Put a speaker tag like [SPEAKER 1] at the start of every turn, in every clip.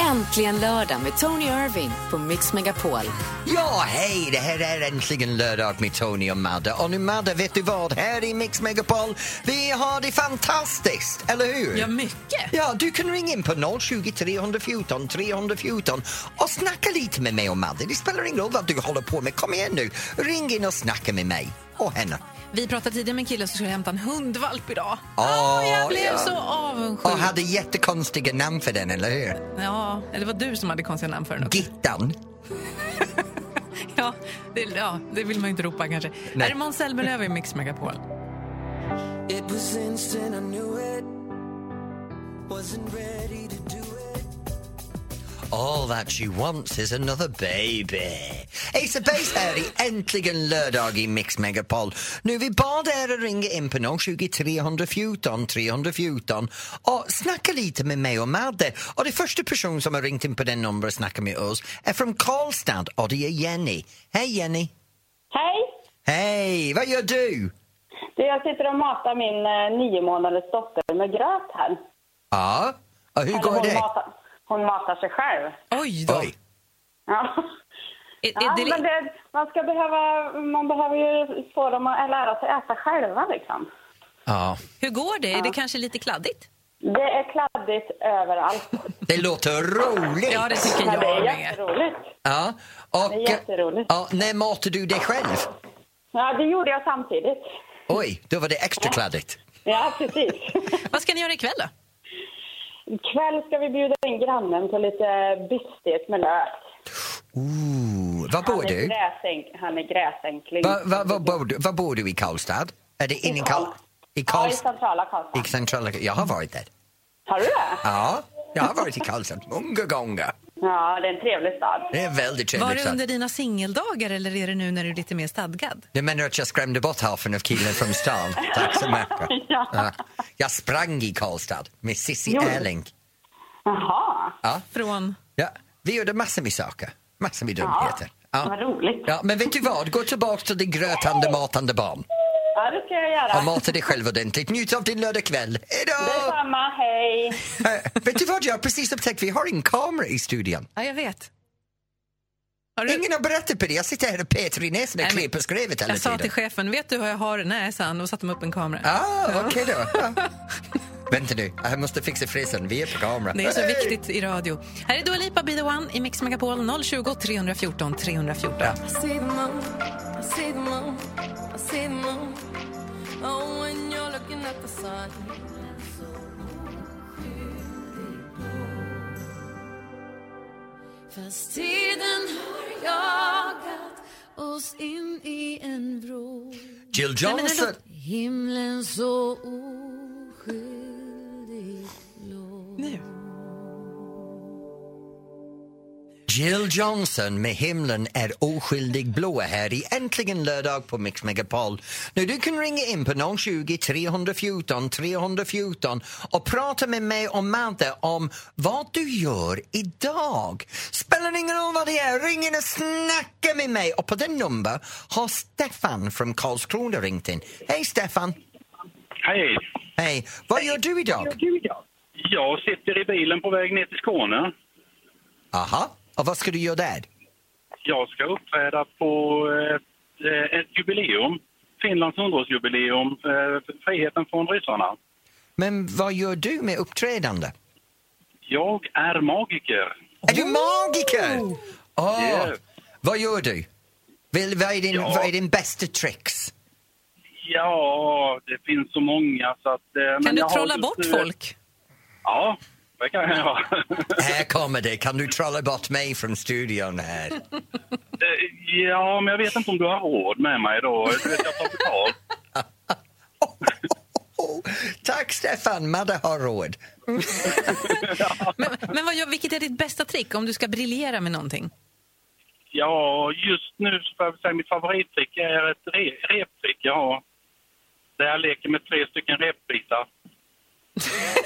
[SPEAKER 1] Äntligen lördag med Tony Irving på Mix Megapol.
[SPEAKER 2] Ja, hej! Det här är äntligen lördag med Tony och Madde. Och nu Madde, vet du vad? Här i Mix Megapol, vi har det fantastiskt, eller hur?
[SPEAKER 3] Ja, mycket.
[SPEAKER 2] Ja, du kan ringa in på 020 314 314 och snacka lite med mig och Madde. Det spelar ingen roll vad du håller på med. Kom igen nu, ring in och snacka med mig och henne.
[SPEAKER 3] Vi pratade tidigare med en kille som skulle hämta en hundvalp idag.
[SPEAKER 2] Åh,
[SPEAKER 3] Åh, jag blev
[SPEAKER 2] ja.
[SPEAKER 3] så avundsjuk.
[SPEAKER 2] Och hade jättekonstiga namn för den, eller hur?
[SPEAKER 3] Ja, eller det var du som hade konstiga namn för den också.
[SPEAKER 2] Gittan.
[SPEAKER 3] Ja, det, ja, det vill man ju inte ropa kanske.
[SPEAKER 2] Nej.
[SPEAKER 3] Är det Måns Zelmerlöw i Mix Megapol?
[SPEAKER 4] It was instant, I knew it. Wasn't ready to do it.
[SPEAKER 2] All that she wants is another baby. Ace of Base här i Äntligen lördag i Mix Megapol. Nu vi bad er att ringa in på 020 314 314 och snacka lite med mig och Madde. Och det första person som har ringt in på den numret och snackat med oss är från Karlstad och det är Jenny. Hej Jenny!
[SPEAKER 5] Hej!
[SPEAKER 2] Hej, vad gör du?
[SPEAKER 5] Du, jag sitter och matar min eh, nio månaders dotter med gröt här.
[SPEAKER 2] Ja, och hur
[SPEAKER 5] Eller
[SPEAKER 2] går
[SPEAKER 5] hon,
[SPEAKER 2] det?
[SPEAKER 5] Matar, hon matar sig själv.
[SPEAKER 3] Oj då.
[SPEAKER 2] Oj.
[SPEAKER 5] Ja.
[SPEAKER 3] Är,
[SPEAKER 5] Ja,
[SPEAKER 3] är det,
[SPEAKER 5] men det, man, ska behöva, man behöver ju få dem att lära sig äta själva. Liksom.
[SPEAKER 2] Ja.
[SPEAKER 3] Hur går det? Är det kanske lite kladdigt?
[SPEAKER 5] Det är kladdigt överallt.
[SPEAKER 2] Det låter roligt!
[SPEAKER 3] Ja, det tycker
[SPEAKER 5] Men
[SPEAKER 3] jag
[SPEAKER 5] det är
[SPEAKER 3] med.
[SPEAKER 5] jätteroligt.
[SPEAKER 2] Ja, och,
[SPEAKER 5] Det är jätteroligt.
[SPEAKER 2] ja, när matar du dig själv?
[SPEAKER 5] Ja, det gjorde jag samtidigt.
[SPEAKER 2] Oj, då var det extra kladdigt.
[SPEAKER 5] Ja, precis.
[SPEAKER 3] Vad ska ni göra ikväll då?
[SPEAKER 5] Ikväll ska vi bjuda in grannen på lite bistet med lök.
[SPEAKER 2] Ooh, var bor
[SPEAKER 5] han, är
[SPEAKER 2] du?
[SPEAKER 5] gräsänk, han är gräsänkling.
[SPEAKER 2] Var, var, var, bor du? Var bor du i Karlstad? Är det inne i Karl... I
[SPEAKER 5] Ja, i
[SPEAKER 2] Karlstad?
[SPEAKER 5] centrala
[SPEAKER 2] I
[SPEAKER 5] Karlstad.
[SPEAKER 2] centrala... Jag har varit där.
[SPEAKER 5] Har du det?
[SPEAKER 2] Ja, jag har varit i Karlstad många gånger.
[SPEAKER 5] Ja, det är en trevlig stad.
[SPEAKER 2] Det är väldigt
[SPEAKER 3] Var
[SPEAKER 2] trevligt.
[SPEAKER 3] det under
[SPEAKER 2] stad.
[SPEAKER 3] dina singeldagar eller är det nu när du är lite mer stadgad?
[SPEAKER 2] Du menar att jag skrämde bort hälften av killen från stan? Tack så mycket. Ja. Jag sprang i Karlstad med Cissi
[SPEAKER 5] Gjorde du?
[SPEAKER 2] Erling.
[SPEAKER 5] Jaha.
[SPEAKER 2] Ja.
[SPEAKER 3] Från...
[SPEAKER 2] Ja, vi gjorde massor med saker. Massor med
[SPEAKER 5] Ja,
[SPEAKER 2] dumheter. Ja.
[SPEAKER 5] vad roligt.
[SPEAKER 2] Ja, men vet du vad? Gå tillbaka till din grötande, matande barn.
[SPEAKER 5] Ja, det ska jag göra.
[SPEAKER 2] Och mata dig själv ordentligt. Njut av din lördagkväll. Hejdå!
[SPEAKER 5] Detsamma, hej.
[SPEAKER 2] Eh, vet du vad? Jag har precis upptäckt vi har en kamera i studion.
[SPEAKER 3] Ja, jag vet. Har du...
[SPEAKER 2] Ingen har berättat på det. Jag sitter här och petar i näsan och
[SPEAKER 3] Nej, men-
[SPEAKER 2] klipper skrevet hela
[SPEAKER 3] Jag sa till
[SPEAKER 2] tiden.
[SPEAKER 3] chefen, vet du vad jag har? Nej, sa han. Då satte de upp en kamera.
[SPEAKER 2] Ah, okej då. Ja. Vänta nu, jag måste fixa frisen. Vi är på kamera.
[SPEAKER 3] Det är så
[SPEAKER 2] Hej!
[SPEAKER 3] viktigt i radio. Här är Dua Lipa, Be the One i Mix Megapol 020 314 314.
[SPEAKER 6] Fast tiden har jagat oss in i en vrå
[SPEAKER 2] Jill Johnson.
[SPEAKER 6] Himlen så oskyldigt blå
[SPEAKER 3] Nu.
[SPEAKER 2] Jill Johnson med Himlen är oskyldig blå här i Äntligen lördag på Mix Megapol. Nu, du kan ringa in på 020 314 314 och prata med mig och Madde om vad du gör idag. Spelar ingen roll vad det är, ring in och snacka med mig. Och på den nummer har Stefan från Karlskrona ringt in. Hej Stefan!
[SPEAKER 7] Hej!
[SPEAKER 2] Hej! Vad gör du idag?
[SPEAKER 7] Jag sitter i bilen på väg ner till Skåne.
[SPEAKER 2] Aha, och vad ska du göra där?
[SPEAKER 7] Jag ska uppträda på eh, eh, ett jubileum. Finlands 100-årsjubileum, eh, friheten från ryssarna.
[SPEAKER 2] Men vad gör du med uppträdande?
[SPEAKER 7] Jag är magiker.
[SPEAKER 2] Är du magiker? Åh,
[SPEAKER 7] Yeah.
[SPEAKER 2] Vad gör du? Vill, vad, är din,
[SPEAKER 7] Ja.
[SPEAKER 2] vad är din bästa tricks?
[SPEAKER 7] Ja, det finns så många så att... eh, men
[SPEAKER 3] Kan du
[SPEAKER 7] jag har
[SPEAKER 3] trolla
[SPEAKER 7] just,
[SPEAKER 3] bort
[SPEAKER 7] eh,
[SPEAKER 3] folk?
[SPEAKER 7] Ja, det kan jag göra.
[SPEAKER 2] Här kommer det. Kan du trolla bort mig från studion här?
[SPEAKER 7] Eh, ja, men jag vet inte om du har råd med mig då. Du vet, jag tar betalt.
[SPEAKER 2] Oh, tack Stefan, Madde har råd.
[SPEAKER 3] Men, men vad gör, vilket är ditt bästa trick om du ska briljera med någonting?
[SPEAKER 7] Ja, just nu så får jag väl säga mitt favorittrick är ett re reptrick jag har. Där jag leker med tre stycken repbitar.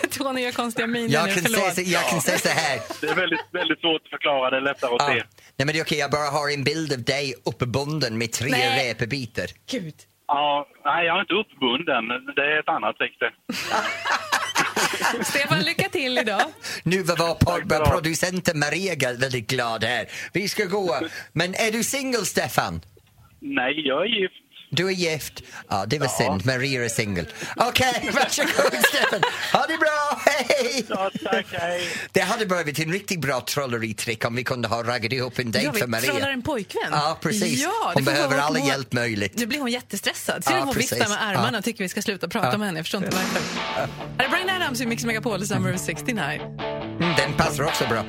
[SPEAKER 3] Tony gör konstiga miner
[SPEAKER 2] Jag
[SPEAKER 3] nu,
[SPEAKER 2] kan, säga,
[SPEAKER 3] förlåt.
[SPEAKER 2] så- jag kan säga så här.
[SPEAKER 7] Det är väldigt, väldigt svårt att förklara, det är lättare att
[SPEAKER 2] Ah,
[SPEAKER 7] se.
[SPEAKER 2] nej men det är okej, jag bara har en bild av dig uppbunden med tre
[SPEAKER 3] Nej.
[SPEAKER 2] repbitar.
[SPEAKER 3] Gud.
[SPEAKER 7] Ja, nej, jag är inte uppbunden. Det är ett annat trick det.
[SPEAKER 3] Stefan, lycka till idag.
[SPEAKER 2] Nu var Pogba,
[SPEAKER 7] Tack så.
[SPEAKER 2] producenten Maria gal- väldigt glad här. Vi ska gå. Men är du singel, Stefan?
[SPEAKER 7] Nej, jag är gift.
[SPEAKER 2] Du är gift. Ja, det var synd. Maria är singel. Okej, varsågod Stefan. Ha det bra, hej!
[SPEAKER 7] Ja, tack, hej.
[SPEAKER 2] Det hade blivit en riktigt bra trolleritrick om vi kunde ha raggat ihop en dejt
[SPEAKER 3] Ja, vi
[SPEAKER 2] för Maria.
[SPEAKER 3] trollar en pojkvän.
[SPEAKER 2] Ja, precis.
[SPEAKER 3] Ja, det
[SPEAKER 2] Hon
[SPEAKER 3] får
[SPEAKER 2] behöver
[SPEAKER 3] vara-
[SPEAKER 2] all
[SPEAKER 3] vara-
[SPEAKER 2] hjälp möjligt.
[SPEAKER 3] Nu blir hon jättestressad. Ser
[SPEAKER 2] Ja,
[SPEAKER 3] du hon viftar
[SPEAKER 2] precis.
[SPEAKER 3] med armarna
[SPEAKER 2] Ja.
[SPEAKER 3] och tycker vi ska sluta prata med henne. Jag förstår inte varför. Här är Brian Adams i Mix Megapol, Summer of 69.
[SPEAKER 2] Mm, den passar också bra.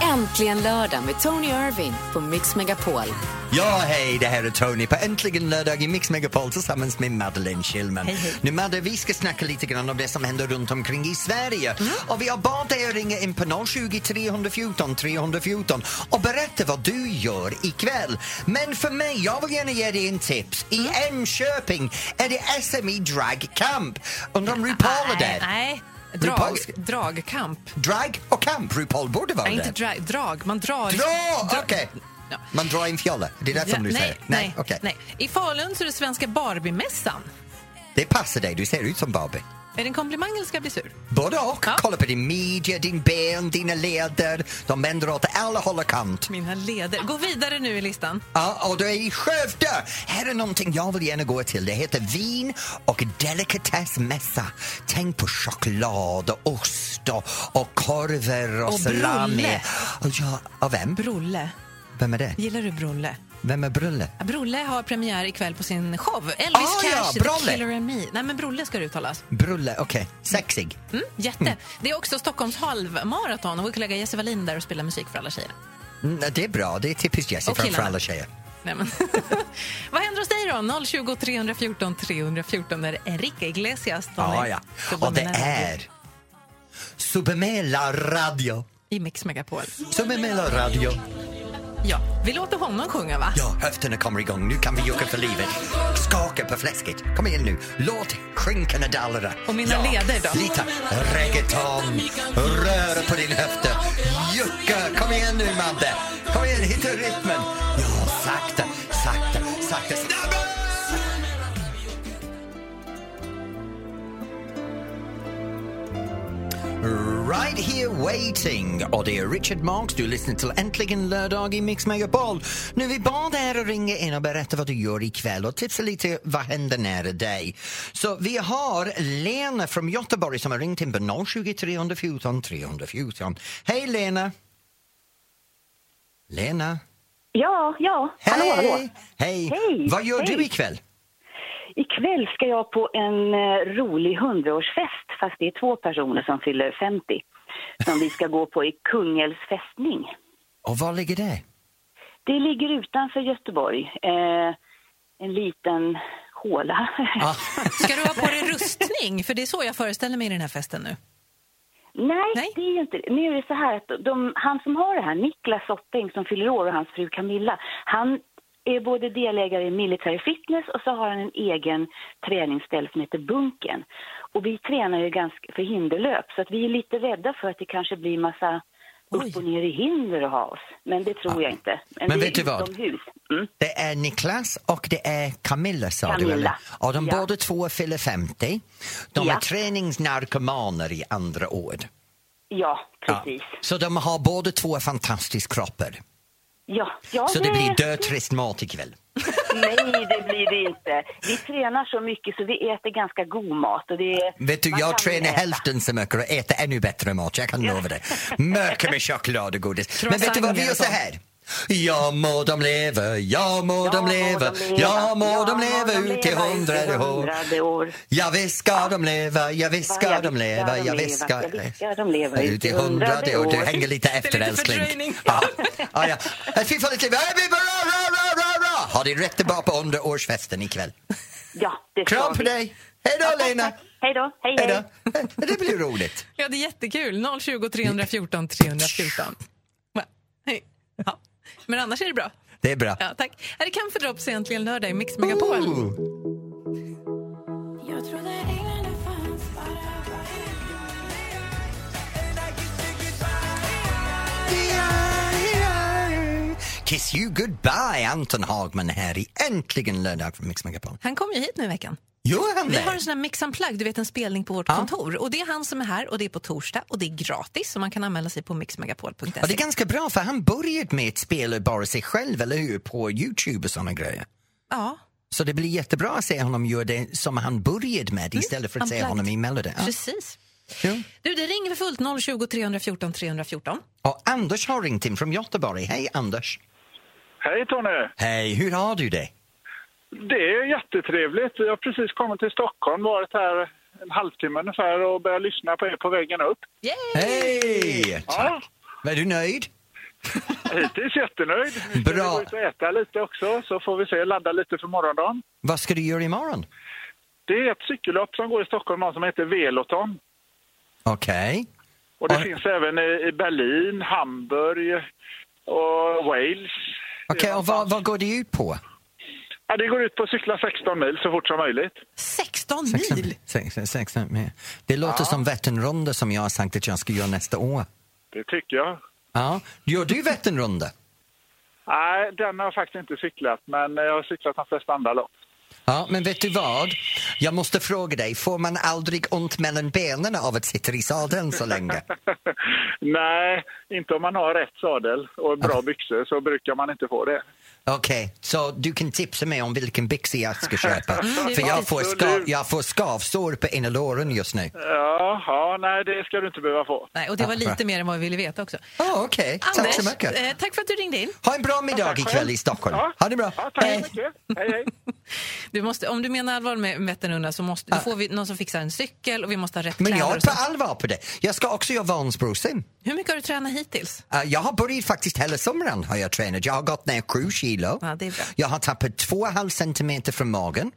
[SPEAKER 1] Äntligen lördag med Tony Irving på Mix Megapol.
[SPEAKER 2] Ja, hej, det här är Tony på Äntligen lördag i Mix Megapol tillsammans med Madeleine Schillman. Nu Madde, vi ska snacka lite grann om det som händer runt omkring i Sverige.
[SPEAKER 3] Mm.
[SPEAKER 2] Och vi har bad dig att ringa in på 020 314 314 och berätta vad du gör ikväll. Men för mig, jag vill gärna ge dig en tips.
[SPEAKER 3] Mm.
[SPEAKER 2] I Enköping är det SMI Drag Camp. Undrar om RuPaul är
[SPEAKER 3] Nej,
[SPEAKER 2] där?
[SPEAKER 3] nej.
[SPEAKER 2] RuPaul
[SPEAKER 3] Drag,
[SPEAKER 2] ska-
[SPEAKER 3] dragkamp.
[SPEAKER 2] Drag och camp, RuPaul borde vara
[SPEAKER 3] ah. Nej, inte
[SPEAKER 2] där.
[SPEAKER 3] drag, drag. Man drar...
[SPEAKER 2] Dra!
[SPEAKER 3] dra-
[SPEAKER 2] Okej.
[SPEAKER 3] Ja.
[SPEAKER 2] Man drar en fjolla, det är det
[SPEAKER 3] Ja,
[SPEAKER 2] som du
[SPEAKER 3] nej,
[SPEAKER 2] säger?
[SPEAKER 3] nej,
[SPEAKER 2] okej.
[SPEAKER 3] nej. I Falun så är det Svenska Barbiemässan.
[SPEAKER 2] Det passar dig, du ser ut som Barbie.
[SPEAKER 3] Är det en komplimang eller ska jag bli sur?
[SPEAKER 2] Både och.
[SPEAKER 3] Ja.
[SPEAKER 2] Kolla på din midja, din ben, dina leder. De vänder åt alla håll och kant.
[SPEAKER 3] Mina leder. Gå vidare nu i listan.
[SPEAKER 2] Ja, och du är i Skövde. Här är någonting jag vill gärna gå till. Det heter vin och delikatessmässa. Tänk på choklad och ost och, och korvar och,
[SPEAKER 3] Och
[SPEAKER 2] salami.
[SPEAKER 3] brulle.
[SPEAKER 2] Och ja, och vem?
[SPEAKER 3] Brolle.
[SPEAKER 2] Vem är det?
[SPEAKER 3] Gillar du Brolle?
[SPEAKER 2] Vem är Brulle?
[SPEAKER 3] Ja, Brolle har premiär ikväll på sin show. Elvis
[SPEAKER 2] Ah,
[SPEAKER 3] Cash,
[SPEAKER 2] ja,
[SPEAKER 3] The
[SPEAKER 2] Brolle.
[SPEAKER 3] Killer and Me. Nej, men Brolle ska det uttalas.
[SPEAKER 2] Brulle, okej. Sexig.
[SPEAKER 3] Mm, jätte. Det är också Stockholms halvmaraton och vår kollega Jesse Wallin där och spelar musik för alla tjejer.
[SPEAKER 2] Mm, det är bra, det är typiskt Jessie
[SPEAKER 3] Och
[SPEAKER 2] framför
[SPEAKER 3] killarna.
[SPEAKER 2] alla tjejer.
[SPEAKER 3] Nej, men. Vad händer hos dig då? 020 314 314 där är Enrique Iglesias. Tony.
[SPEAKER 2] Ah, Ja, ja. Och det är Supermela Radio.
[SPEAKER 3] I Mix Megapol.
[SPEAKER 2] Supermela Radio.
[SPEAKER 3] Ja, vi låter honom sjunga va?
[SPEAKER 2] Ja, höfterna kommer igång. Nu kan vi jucka för livet. Skaka på fläsket. Kom igen nu. Låt skinkorna dallra.
[SPEAKER 3] Och mina leder då?
[SPEAKER 2] Lita reggaeton. Röra på din höfter. Jucka. Kom igen nu, Madde. Kom igen, hitta rytmen. Ja, sakta, sakta, sakta. Snabbare! Right here waiting och det är Richard Marks. Du lyssnar till Äntligen lördag i Mix Megapol. Nu vi bad er att ringa in och berätta vad du gör ikväll och tipsa lite vad händer nära dig. Så vi har Lena från Göteborg som har ringt in på 020 314 314. Hej Lena! Lena?
[SPEAKER 8] Ja, ja. Hallå, hallå.
[SPEAKER 2] Hej!
[SPEAKER 8] Hej,
[SPEAKER 2] Vad gör
[SPEAKER 8] hej.
[SPEAKER 2] du ikväll?
[SPEAKER 8] Ikväll ska jag på en eh, rolig hundraårsfest, fast det är två personer som fyller 50. Som vi ska gå på i Kungälvs fästning.
[SPEAKER 2] Och var ligger det?
[SPEAKER 8] Det ligger utanför Göteborg. Eh, en liten håla.
[SPEAKER 2] Ah,
[SPEAKER 3] Ska du ha på dig rustning? För det är så jag föreställer mig den här festen nu.
[SPEAKER 8] Nej,
[SPEAKER 3] Nej.
[SPEAKER 8] det är ju inte Nu är det så här att de, han som har det här, Niklas Opping som fyller år och hans fru Camilla, han är både delägare i Military Fitness och så har han en egen träningsställ som heter Bunken. Och vi tränar ju ganska för hinderlöp så att vi är lite rädda för att det kanske blir massa
[SPEAKER 3] Oj.
[SPEAKER 8] upp och ner i hinder att ha oss. Men det tror jag inte.
[SPEAKER 2] Men
[SPEAKER 8] det
[SPEAKER 2] vet
[SPEAKER 8] är
[SPEAKER 2] du vad?
[SPEAKER 8] utomhus. Mm.
[SPEAKER 2] Det är Niklas och det är Camilla sa du
[SPEAKER 8] Camilla.
[SPEAKER 2] eller? Och de
[SPEAKER 8] Ja.
[SPEAKER 2] båda två fyller 50. De är
[SPEAKER 8] Ja.
[SPEAKER 2] träningsnarkomaner i andra ord.
[SPEAKER 8] Ja,
[SPEAKER 2] Ja.
[SPEAKER 8] precis. Ja,
[SPEAKER 2] Så de har båda två fantastiska kroppar.
[SPEAKER 8] ja,
[SPEAKER 2] Så det
[SPEAKER 8] nej.
[SPEAKER 2] blir dötrist mat ikväll.
[SPEAKER 8] Nej, det blir det inte. Vi tränar så mycket så vi äter ganska god mat. Och det är,
[SPEAKER 2] Vet du,
[SPEAKER 8] man
[SPEAKER 2] jag
[SPEAKER 8] kan
[SPEAKER 2] tränar
[SPEAKER 8] äta.
[SPEAKER 2] hälften så mycket och äter ännu bättre mat, jag kan lova dig. Mörker med choklad och godis. Men vet du vad, vi gör så här. Ja må de leva, ja må de leva, ja må de leva ut i hundrade år.
[SPEAKER 8] hundrade år.
[SPEAKER 2] Ja visst ska de leva, ja visst
[SPEAKER 8] Ja,
[SPEAKER 2] ska
[SPEAKER 8] ja,
[SPEAKER 2] de
[SPEAKER 8] visst
[SPEAKER 2] leva,
[SPEAKER 8] ska de
[SPEAKER 2] ja
[SPEAKER 8] leva,
[SPEAKER 2] visst ska...
[SPEAKER 8] ja, visst ska de leva
[SPEAKER 2] Ut i hundrade år. Du hänger lite efter
[SPEAKER 3] lite
[SPEAKER 2] älskling.
[SPEAKER 3] fördröjning.
[SPEAKER 2] Ja, ja. ja. Ett fyrfaldigt liv. Ja, vi bara, ra, ra, ra, ra. Ha det rätt tillbaka på hundraårsfesten ikväll.
[SPEAKER 8] Ja, det ska
[SPEAKER 2] Kram på
[SPEAKER 8] vi.
[SPEAKER 2] dig! Hej då Lena!
[SPEAKER 8] Tack. Hej då, hej
[SPEAKER 2] Hej
[SPEAKER 8] hej.
[SPEAKER 2] då! Det blir roligt.
[SPEAKER 3] Ja, det är jättekul. 020 314 314. Va? Hej. Ja. Men annars är det bra.
[SPEAKER 2] Det är bra.
[SPEAKER 3] Ja, tack. Här är Camphor Drops äntligen lördag i Mix Megapol.
[SPEAKER 2] Ooh.
[SPEAKER 6] Jag trodde änglarna fanns
[SPEAKER 2] Kiss you goodbye, Anton Hagman här i Äntligen lördag från Mix Megapol.
[SPEAKER 3] Han kommer ju hit nu i veckan.
[SPEAKER 2] Gör han
[SPEAKER 3] Vi
[SPEAKER 2] det?
[SPEAKER 3] har en sån här Mix Unplugged, du vet en spelning på vårt kontor. Och det är han som är här och det är på torsdag och det är gratis och man kan anmäla sig på mixmegapol.se.
[SPEAKER 2] Ja, det är ganska bra för han började med ett spel bara sig själv, eller hur? På Youtube och såna grejer.
[SPEAKER 3] Ja,
[SPEAKER 2] Så det blir jättebra att se honom göra det som han började med istället för att se
[SPEAKER 3] Mm, unplugged.
[SPEAKER 2] honom i Melody. Ja.
[SPEAKER 3] precis.
[SPEAKER 2] Jo.
[SPEAKER 3] Du, det ringer för fullt 020 314 314.
[SPEAKER 2] Och Anders har ringt in från Göteborg. Hej Anders!
[SPEAKER 7] Hej Tony!
[SPEAKER 2] Hej, hur har du det?
[SPEAKER 7] Det är jättetrevligt. Jag har precis kommit till Stockholm, varit här en halvtimme ungefär och börjat lyssna på er på vägen upp.
[SPEAKER 3] Yay!
[SPEAKER 2] Hej!
[SPEAKER 7] Ja,
[SPEAKER 2] Är du nöjd?
[SPEAKER 7] hittills jättenöjd. Nu ska vi
[SPEAKER 2] Bra.
[SPEAKER 7] gå ut och äta lite också så får vi se, ladda lite för morgondagen.
[SPEAKER 2] Vad ska du göra imorgon?
[SPEAKER 7] Det är ett cykellopp som går i Stockholm som heter Veloton.
[SPEAKER 2] Okej.
[SPEAKER 7] Och det
[SPEAKER 2] Ja.
[SPEAKER 7] finns även i i Berlin, Hamburg och Wales.
[SPEAKER 2] Okej, och vad, vad går det ut på?
[SPEAKER 7] Ja, det går ut på att cykla 16 mil så fort som möjligt.
[SPEAKER 3] 16
[SPEAKER 2] Sexton-
[SPEAKER 3] mil!
[SPEAKER 2] sex- sexton mil. Det låter som Vätternrunda som jag har sagt att jag ska göra nästa år.
[SPEAKER 7] Det tycker jag.
[SPEAKER 2] Ja. Gör du Vätternrunda?
[SPEAKER 7] Nej, den har jag faktiskt inte cyklat, men jag har cyklat de flesta andra lopp.
[SPEAKER 2] Ja, men vet du vad? Jag måste fråga dig, får man aldrig ont mellan benen av att sitta i sadeln så länge?
[SPEAKER 7] Nej, inte om man har rätt sadel och bra byxor så brukar man inte få det.
[SPEAKER 2] Okej, så du kan tipsa mig om vilken byxa jag ska köpa.
[SPEAKER 7] Mm.
[SPEAKER 3] är
[SPEAKER 2] För jag
[SPEAKER 3] viktigt.
[SPEAKER 2] får, ska, jag får skavsår på ena låren just nu.
[SPEAKER 7] Jaha, nej det ska du inte behöva få.
[SPEAKER 3] Nej, och det var
[SPEAKER 2] Ja, bra.
[SPEAKER 3] lite mer än vad vi ville veta också.
[SPEAKER 2] Ja, Ah, Okej, tack så
[SPEAKER 3] Anders,
[SPEAKER 2] mycket.
[SPEAKER 3] eh, tack för att du ringde in.
[SPEAKER 2] Ha en bra middag ikväll i Stockholm.
[SPEAKER 7] Ja.
[SPEAKER 2] Ha det bra.
[SPEAKER 7] Ja, tack så
[SPEAKER 2] Hej.
[SPEAKER 7] mycket. Hej, hej.
[SPEAKER 3] Du måste, om du menar allvar med Vätternrundan så måste, då får vi någon som fixar en cykel och vi måste ha rätt
[SPEAKER 2] Men
[SPEAKER 3] kläder.
[SPEAKER 2] jag är
[SPEAKER 3] och
[SPEAKER 2] på
[SPEAKER 3] sånt.
[SPEAKER 2] allvar på det. Jag ska också göra Vansbrosim.
[SPEAKER 3] Hur mycket har du tränat hittills?
[SPEAKER 2] Eh, Jag har börjat faktiskt hela sommaren har jag tränat. Jag har gått ner sju kilo.
[SPEAKER 3] Ja, det är bra.
[SPEAKER 2] Jag har tappat två och en halv centimeter från magen.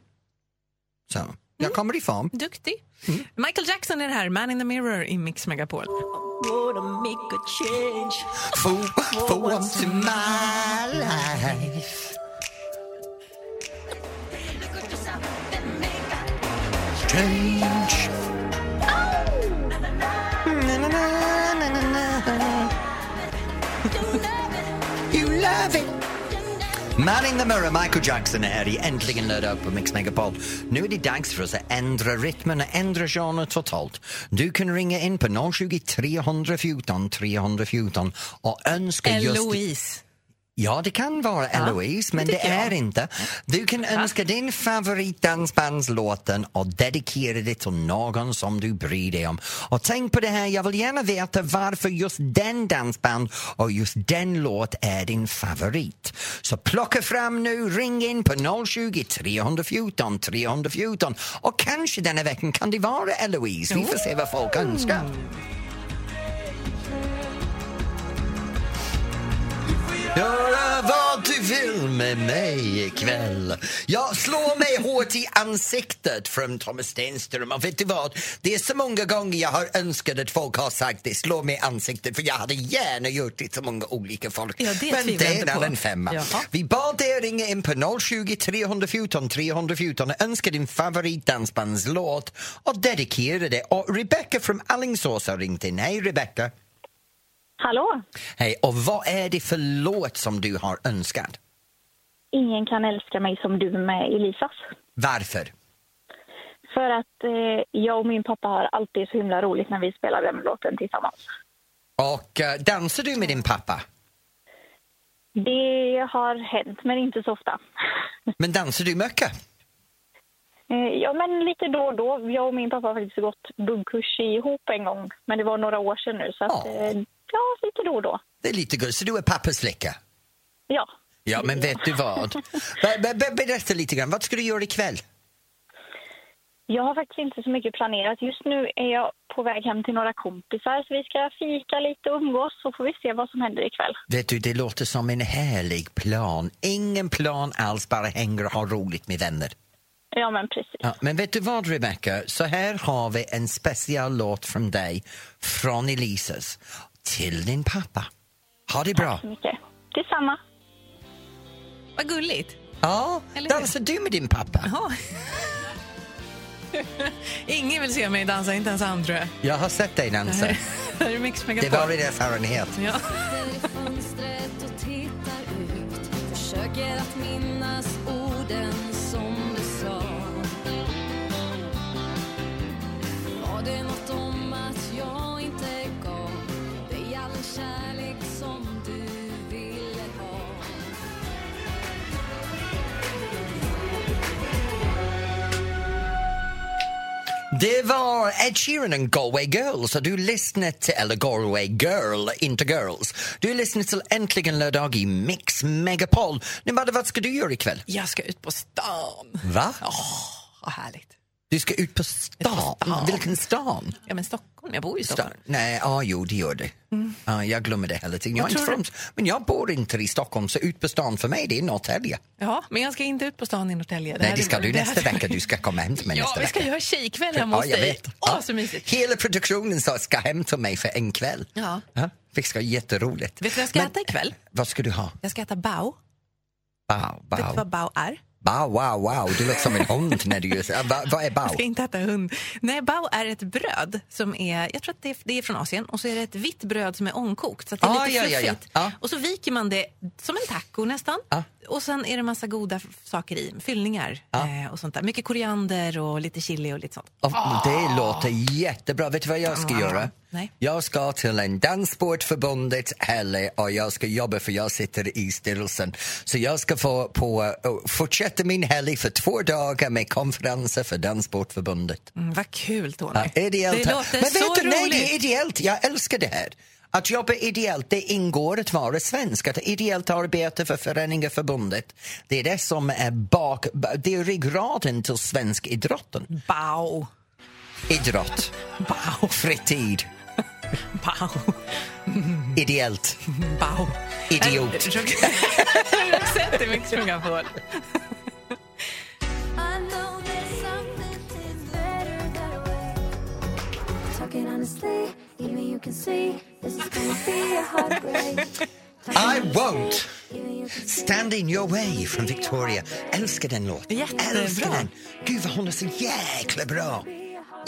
[SPEAKER 2] Så, jag kommer i form.
[SPEAKER 3] Duktig.
[SPEAKER 2] Mm.
[SPEAKER 3] Michael Jackson är det här, Man in the Mirror i Mix Megapol.
[SPEAKER 9] Eh,
[SPEAKER 2] For, for once in my life. Strange. Na, na, na, na, na, na. You love it. Man in the mirror, Michael Jackson är här i Äntligen lördag på Mix Megapol. Nu är det dags för oss att ändra rytmen och ändra genren totalt. Du kan ringa in på 020 314 314 och önska just...
[SPEAKER 3] Eloise.
[SPEAKER 2] Ja, det kan vara Eloise, men det,
[SPEAKER 3] tycker
[SPEAKER 2] är
[SPEAKER 3] jag.
[SPEAKER 2] inte. Du kan önska din favoritdansbandslåten och dedikera det till någon som du bryr dig om. Och tänk på det här, jag vill gärna veta varför just den dansband och just den låt är din favorit. Så plocka fram nu, ring in på 020 314 314 och kanske denna veckan kan det vara Eloise. Vi får se vad folk önskar. Göra vad du vill med mig ikväll. Jag slår mig hårt i ansiktet från Thomas Stenström. Och vet du vad? Det är så många gånger jag har önskat att folk har sagt det, slå mig i ansiktet, för jag hade gärna gjort det till många olika folk.
[SPEAKER 3] Ja, det
[SPEAKER 2] Men
[SPEAKER 3] tvivlar jag
[SPEAKER 2] det
[SPEAKER 3] inte
[SPEAKER 2] är
[SPEAKER 3] på.
[SPEAKER 2] en femma.
[SPEAKER 3] Jaha.
[SPEAKER 2] Vi bad dig ringa in på 020 314 314 och önska din favoritdansbandslåt och dedikera det. Och Rebecca från Alingsås har ringt in. Hej Rebecca!
[SPEAKER 9] Hallå?
[SPEAKER 2] Hej, och vad är det för låt som du har önskat?
[SPEAKER 9] Ingen kan älska mig som du med Elisas.
[SPEAKER 2] Varför?
[SPEAKER 9] För att eh, jag och min pappa har alltid så himla roligt när vi spelar den låten tillsammans.
[SPEAKER 2] Och eh, dansar du med din pappa?
[SPEAKER 9] Det har hänt, men inte så ofta.
[SPEAKER 2] Men dansar du mycket?
[SPEAKER 9] Eh, ja, men lite då och då. Jag och min pappa har faktiskt gått buggkurs ihop en gång, men det var några år sedan nu. Så att,
[SPEAKER 2] Ja.
[SPEAKER 9] eh, ja, lite då och då.
[SPEAKER 2] Det är lite gulligt, så du är pappas flicka?
[SPEAKER 9] Ja.
[SPEAKER 2] Ja, men vet du vad? Be- be- be- berätta lite grann, vad ska du göra ikväll?
[SPEAKER 9] Jag har faktiskt inte så mycket planerat. Just nu är jag på väg hem till några kompisar, så vi ska fika lite och umgås, så får vi se vad som händer ikväll.
[SPEAKER 2] Vet du, det låter som en härlig plan. Ingen plan alls, bara hänger och har roligt med vänner.
[SPEAKER 9] Ja, men precis.
[SPEAKER 2] Ja, men vet du vad, Rebecca? Så här har vi en speciell låt från dig, från Elisas, till din pappa. Ha det bra!
[SPEAKER 9] Mycket. Detsamma.
[SPEAKER 3] Vad gulligt.
[SPEAKER 2] Ja,
[SPEAKER 3] Eller hur?
[SPEAKER 2] dansar du med din pappa?
[SPEAKER 3] Jaha. Ingen vill se mig dansa, inte ens han tror jag.
[SPEAKER 2] Jag har sett dig dansa.
[SPEAKER 3] Det här är Mix
[SPEAKER 2] Det
[SPEAKER 3] Megapol.
[SPEAKER 2] var en erfarenhet.
[SPEAKER 3] Ja.
[SPEAKER 6] Sitter i fönstret och tittar ut försöker att minnas orden som du sa. Var det något om att jag inte gav dig all kärlek som du ville ha?
[SPEAKER 2] Det var Ed Sheeran and Galway Girls och du lyssnar till, eller Galway Girl, inte Girls. Du lyssnar till Äntligen lördag i Mix Megapol. Nu Madde, vad ska du göra ikväll?
[SPEAKER 3] Jag ska ut på stan.
[SPEAKER 2] Va?
[SPEAKER 3] Vad härligt.
[SPEAKER 2] Du ska ut på stan?
[SPEAKER 3] stan.
[SPEAKER 2] Vilken stan?
[SPEAKER 3] Ja, men Stockholm. Jag bor ju i
[SPEAKER 2] stan?
[SPEAKER 3] Stockholm. Mm.
[SPEAKER 2] Nej, ah, jo det gör det. Ah, jag glömmer det hela tiden. Jag är inte
[SPEAKER 3] tror du?
[SPEAKER 2] från, men jag bor inte i Stockholm så ut på stan för mig det är Norrtälje.
[SPEAKER 3] Ja, men jag ska inte ut på stan i Norrtälje.
[SPEAKER 2] Nej, det ska
[SPEAKER 3] är-
[SPEAKER 2] du
[SPEAKER 3] här-
[SPEAKER 2] nästa vecka. Du ska komma hem till mig
[SPEAKER 3] Ja,
[SPEAKER 2] nästa
[SPEAKER 3] vi
[SPEAKER 2] vecka.
[SPEAKER 3] ska göra tjejkväll hemma hos
[SPEAKER 2] jag
[SPEAKER 3] dig.
[SPEAKER 2] vet.
[SPEAKER 3] Åh,
[SPEAKER 2] Ja.
[SPEAKER 3] så mysigt.
[SPEAKER 2] Hela produktionen sa ska hem till mig för en kväll.
[SPEAKER 3] Ja.
[SPEAKER 2] Det ska vara jätteroligt.
[SPEAKER 3] Vet du vad jag ska äta ikväll?
[SPEAKER 2] Vad ska du ha?
[SPEAKER 3] Jag ska äta bao.
[SPEAKER 2] Bao,
[SPEAKER 3] Vet du vad
[SPEAKER 2] bao.
[SPEAKER 3] bao är?
[SPEAKER 2] Bao, wow, wow. Du låter som en hund när du gör så. Ah, Vad vad är bao?
[SPEAKER 3] Jag ska inte äta hund. Nej, bao är ett bröd som är, jag tror att det är, det är från Asien, och så är det ett vitt bröd som är omkokt. Så att det är
[SPEAKER 2] Ah,
[SPEAKER 3] lite
[SPEAKER 2] ja, ja,
[SPEAKER 3] fluffigt.
[SPEAKER 2] ja. Ja.
[SPEAKER 3] Och så viker man det som en taco nästan.
[SPEAKER 2] Ja.
[SPEAKER 3] Och sen är det massa goda f- saker i, fyllningar eh, och sånt där. Mycket koriander och lite chili och lite sånt.
[SPEAKER 2] Och Det låter jättebra. Vet du vad jag ska göra?
[SPEAKER 3] Nej.
[SPEAKER 2] Jag ska till en Danssportförbundet helg och jag ska jobba för jag sitter i styrelsen. Så jag ska få på, eh, fortsätta min helg för två dagar med konferenser för Danssportförbundet.
[SPEAKER 3] Mm, vad kul, Tony.
[SPEAKER 2] Ja, ideellt.
[SPEAKER 3] Det låter
[SPEAKER 2] Men
[SPEAKER 3] så
[SPEAKER 2] vet du, nej,
[SPEAKER 3] roligt.
[SPEAKER 2] det är ideellt. Jag älskar det här. Att jobba ideellt, det ingår att vara svensk. Att ideellt arbete för föreningar, förbundet, det är det som är bak... Det är ryggraden till svensk idrotten.
[SPEAKER 3] Bao.
[SPEAKER 2] Idrott,
[SPEAKER 3] Bao.
[SPEAKER 2] fritid,
[SPEAKER 3] Bao.
[SPEAKER 2] ideellt,
[SPEAKER 3] Bao.
[SPEAKER 2] idiot.
[SPEAKER 3] Sätt dig, Mix Megapol.
[SPEAKER 6] I know there's something that's better that way. Talking honestly, even you can see this is gonna be a heartbreak.
[SPEAKER 2] I won't stand in your way från Victoria. Älskar den låten.
[SPEAKER 3] Jättebra.
[SPEAKER 2] Älskar den. Gud vad hon är så jäkla bra.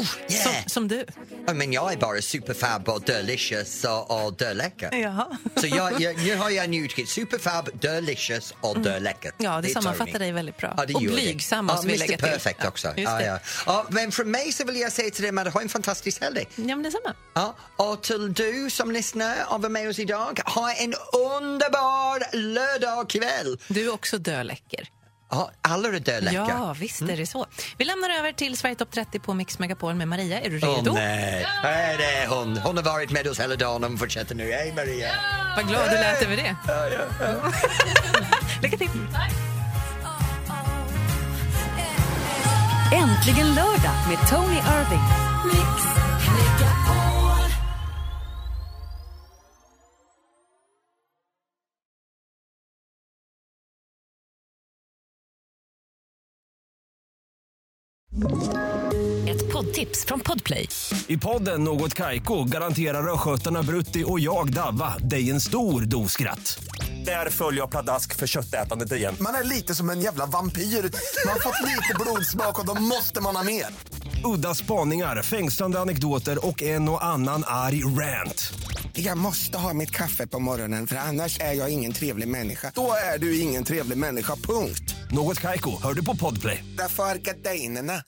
[SPEAKER 2] Uh, yeah.
[SPEAKER 3] Som, som du.
[SPEAKER 2] Ja, men jag är bara superfab och delicious och, och döläcker.
[SPEAKER 3] Jaha.
[SPEAKER 2] Så jag, jag, nu har jag njutit. Superfab, delicious och döläcker.
[SPEAKER 3] Mm. Ja, det sammanfattar dig väldigt bra. Och blygsam måste vi
[SPEAKER 2] Mr.
[SPEAKER 3] lägga till.
[SPEAKER 2] Perfect
[SPEAKER 3] Ja,
[SPEAKER 2] också.
[SPEAKER 3] just
[SPEAKER 2] Ja,
[SPEAKER 3] det.
[SPEAKER 2] ja. Ja, men från mig så vill jag säga till dig, Madde, ha en fantastisk helg.
[SPEAKER 3] Ja, men detsamma.
[SPEAKER 2] Ja, och till du som lyssnar och var med oss idag, ha en underbar lördagkväll.
[SPEAKER 3] Du är också döläcker.
[SPEAKER 2] Ja, alla är döläcker.
[SPEAKER 3] Ja, visst är det så. Vi lämnar över till Sverige Topp 30 på Mix Megapol med Maria. Är du
[SPEAKER 2] Åh
[SPEAKER 3] redo?
[SPEAKER 2] nej, här är hon. Hon har varit med oss hela dagen och hon fortsätter nu. Hej Maria!
[SPEAKER 3] Vad glad du lät över det. Lycka till!
[SPEAKER 1] Äntligen lördag med Tony Irving. Ett poddtips från Podplay.
[SPEAKER 10] I podden Något Kaiko garanterar östgötarna Brutti och jag, Davva, dig en stor dos skratt. Där följer jag pladask för köttätandet igen.
[SPEAKER 11] Man är lite som en jävla vampyr. Man har fått lite blodsmak och då måste man ha mer.
[SPEAKER 10] Udda spaningar, fängslande anekdoter och en och annan arg rant.
[SPEAKER 11] Jag måste ha mitt kaffe på morgonen för annars är jag ingen trevlig människa. Då är du ingen trevlig människa, punkt.
[SPEAKER 10] Något Kaiko, hör du på Podplay.
[SPEAKER 11] Därför arkadeinerna.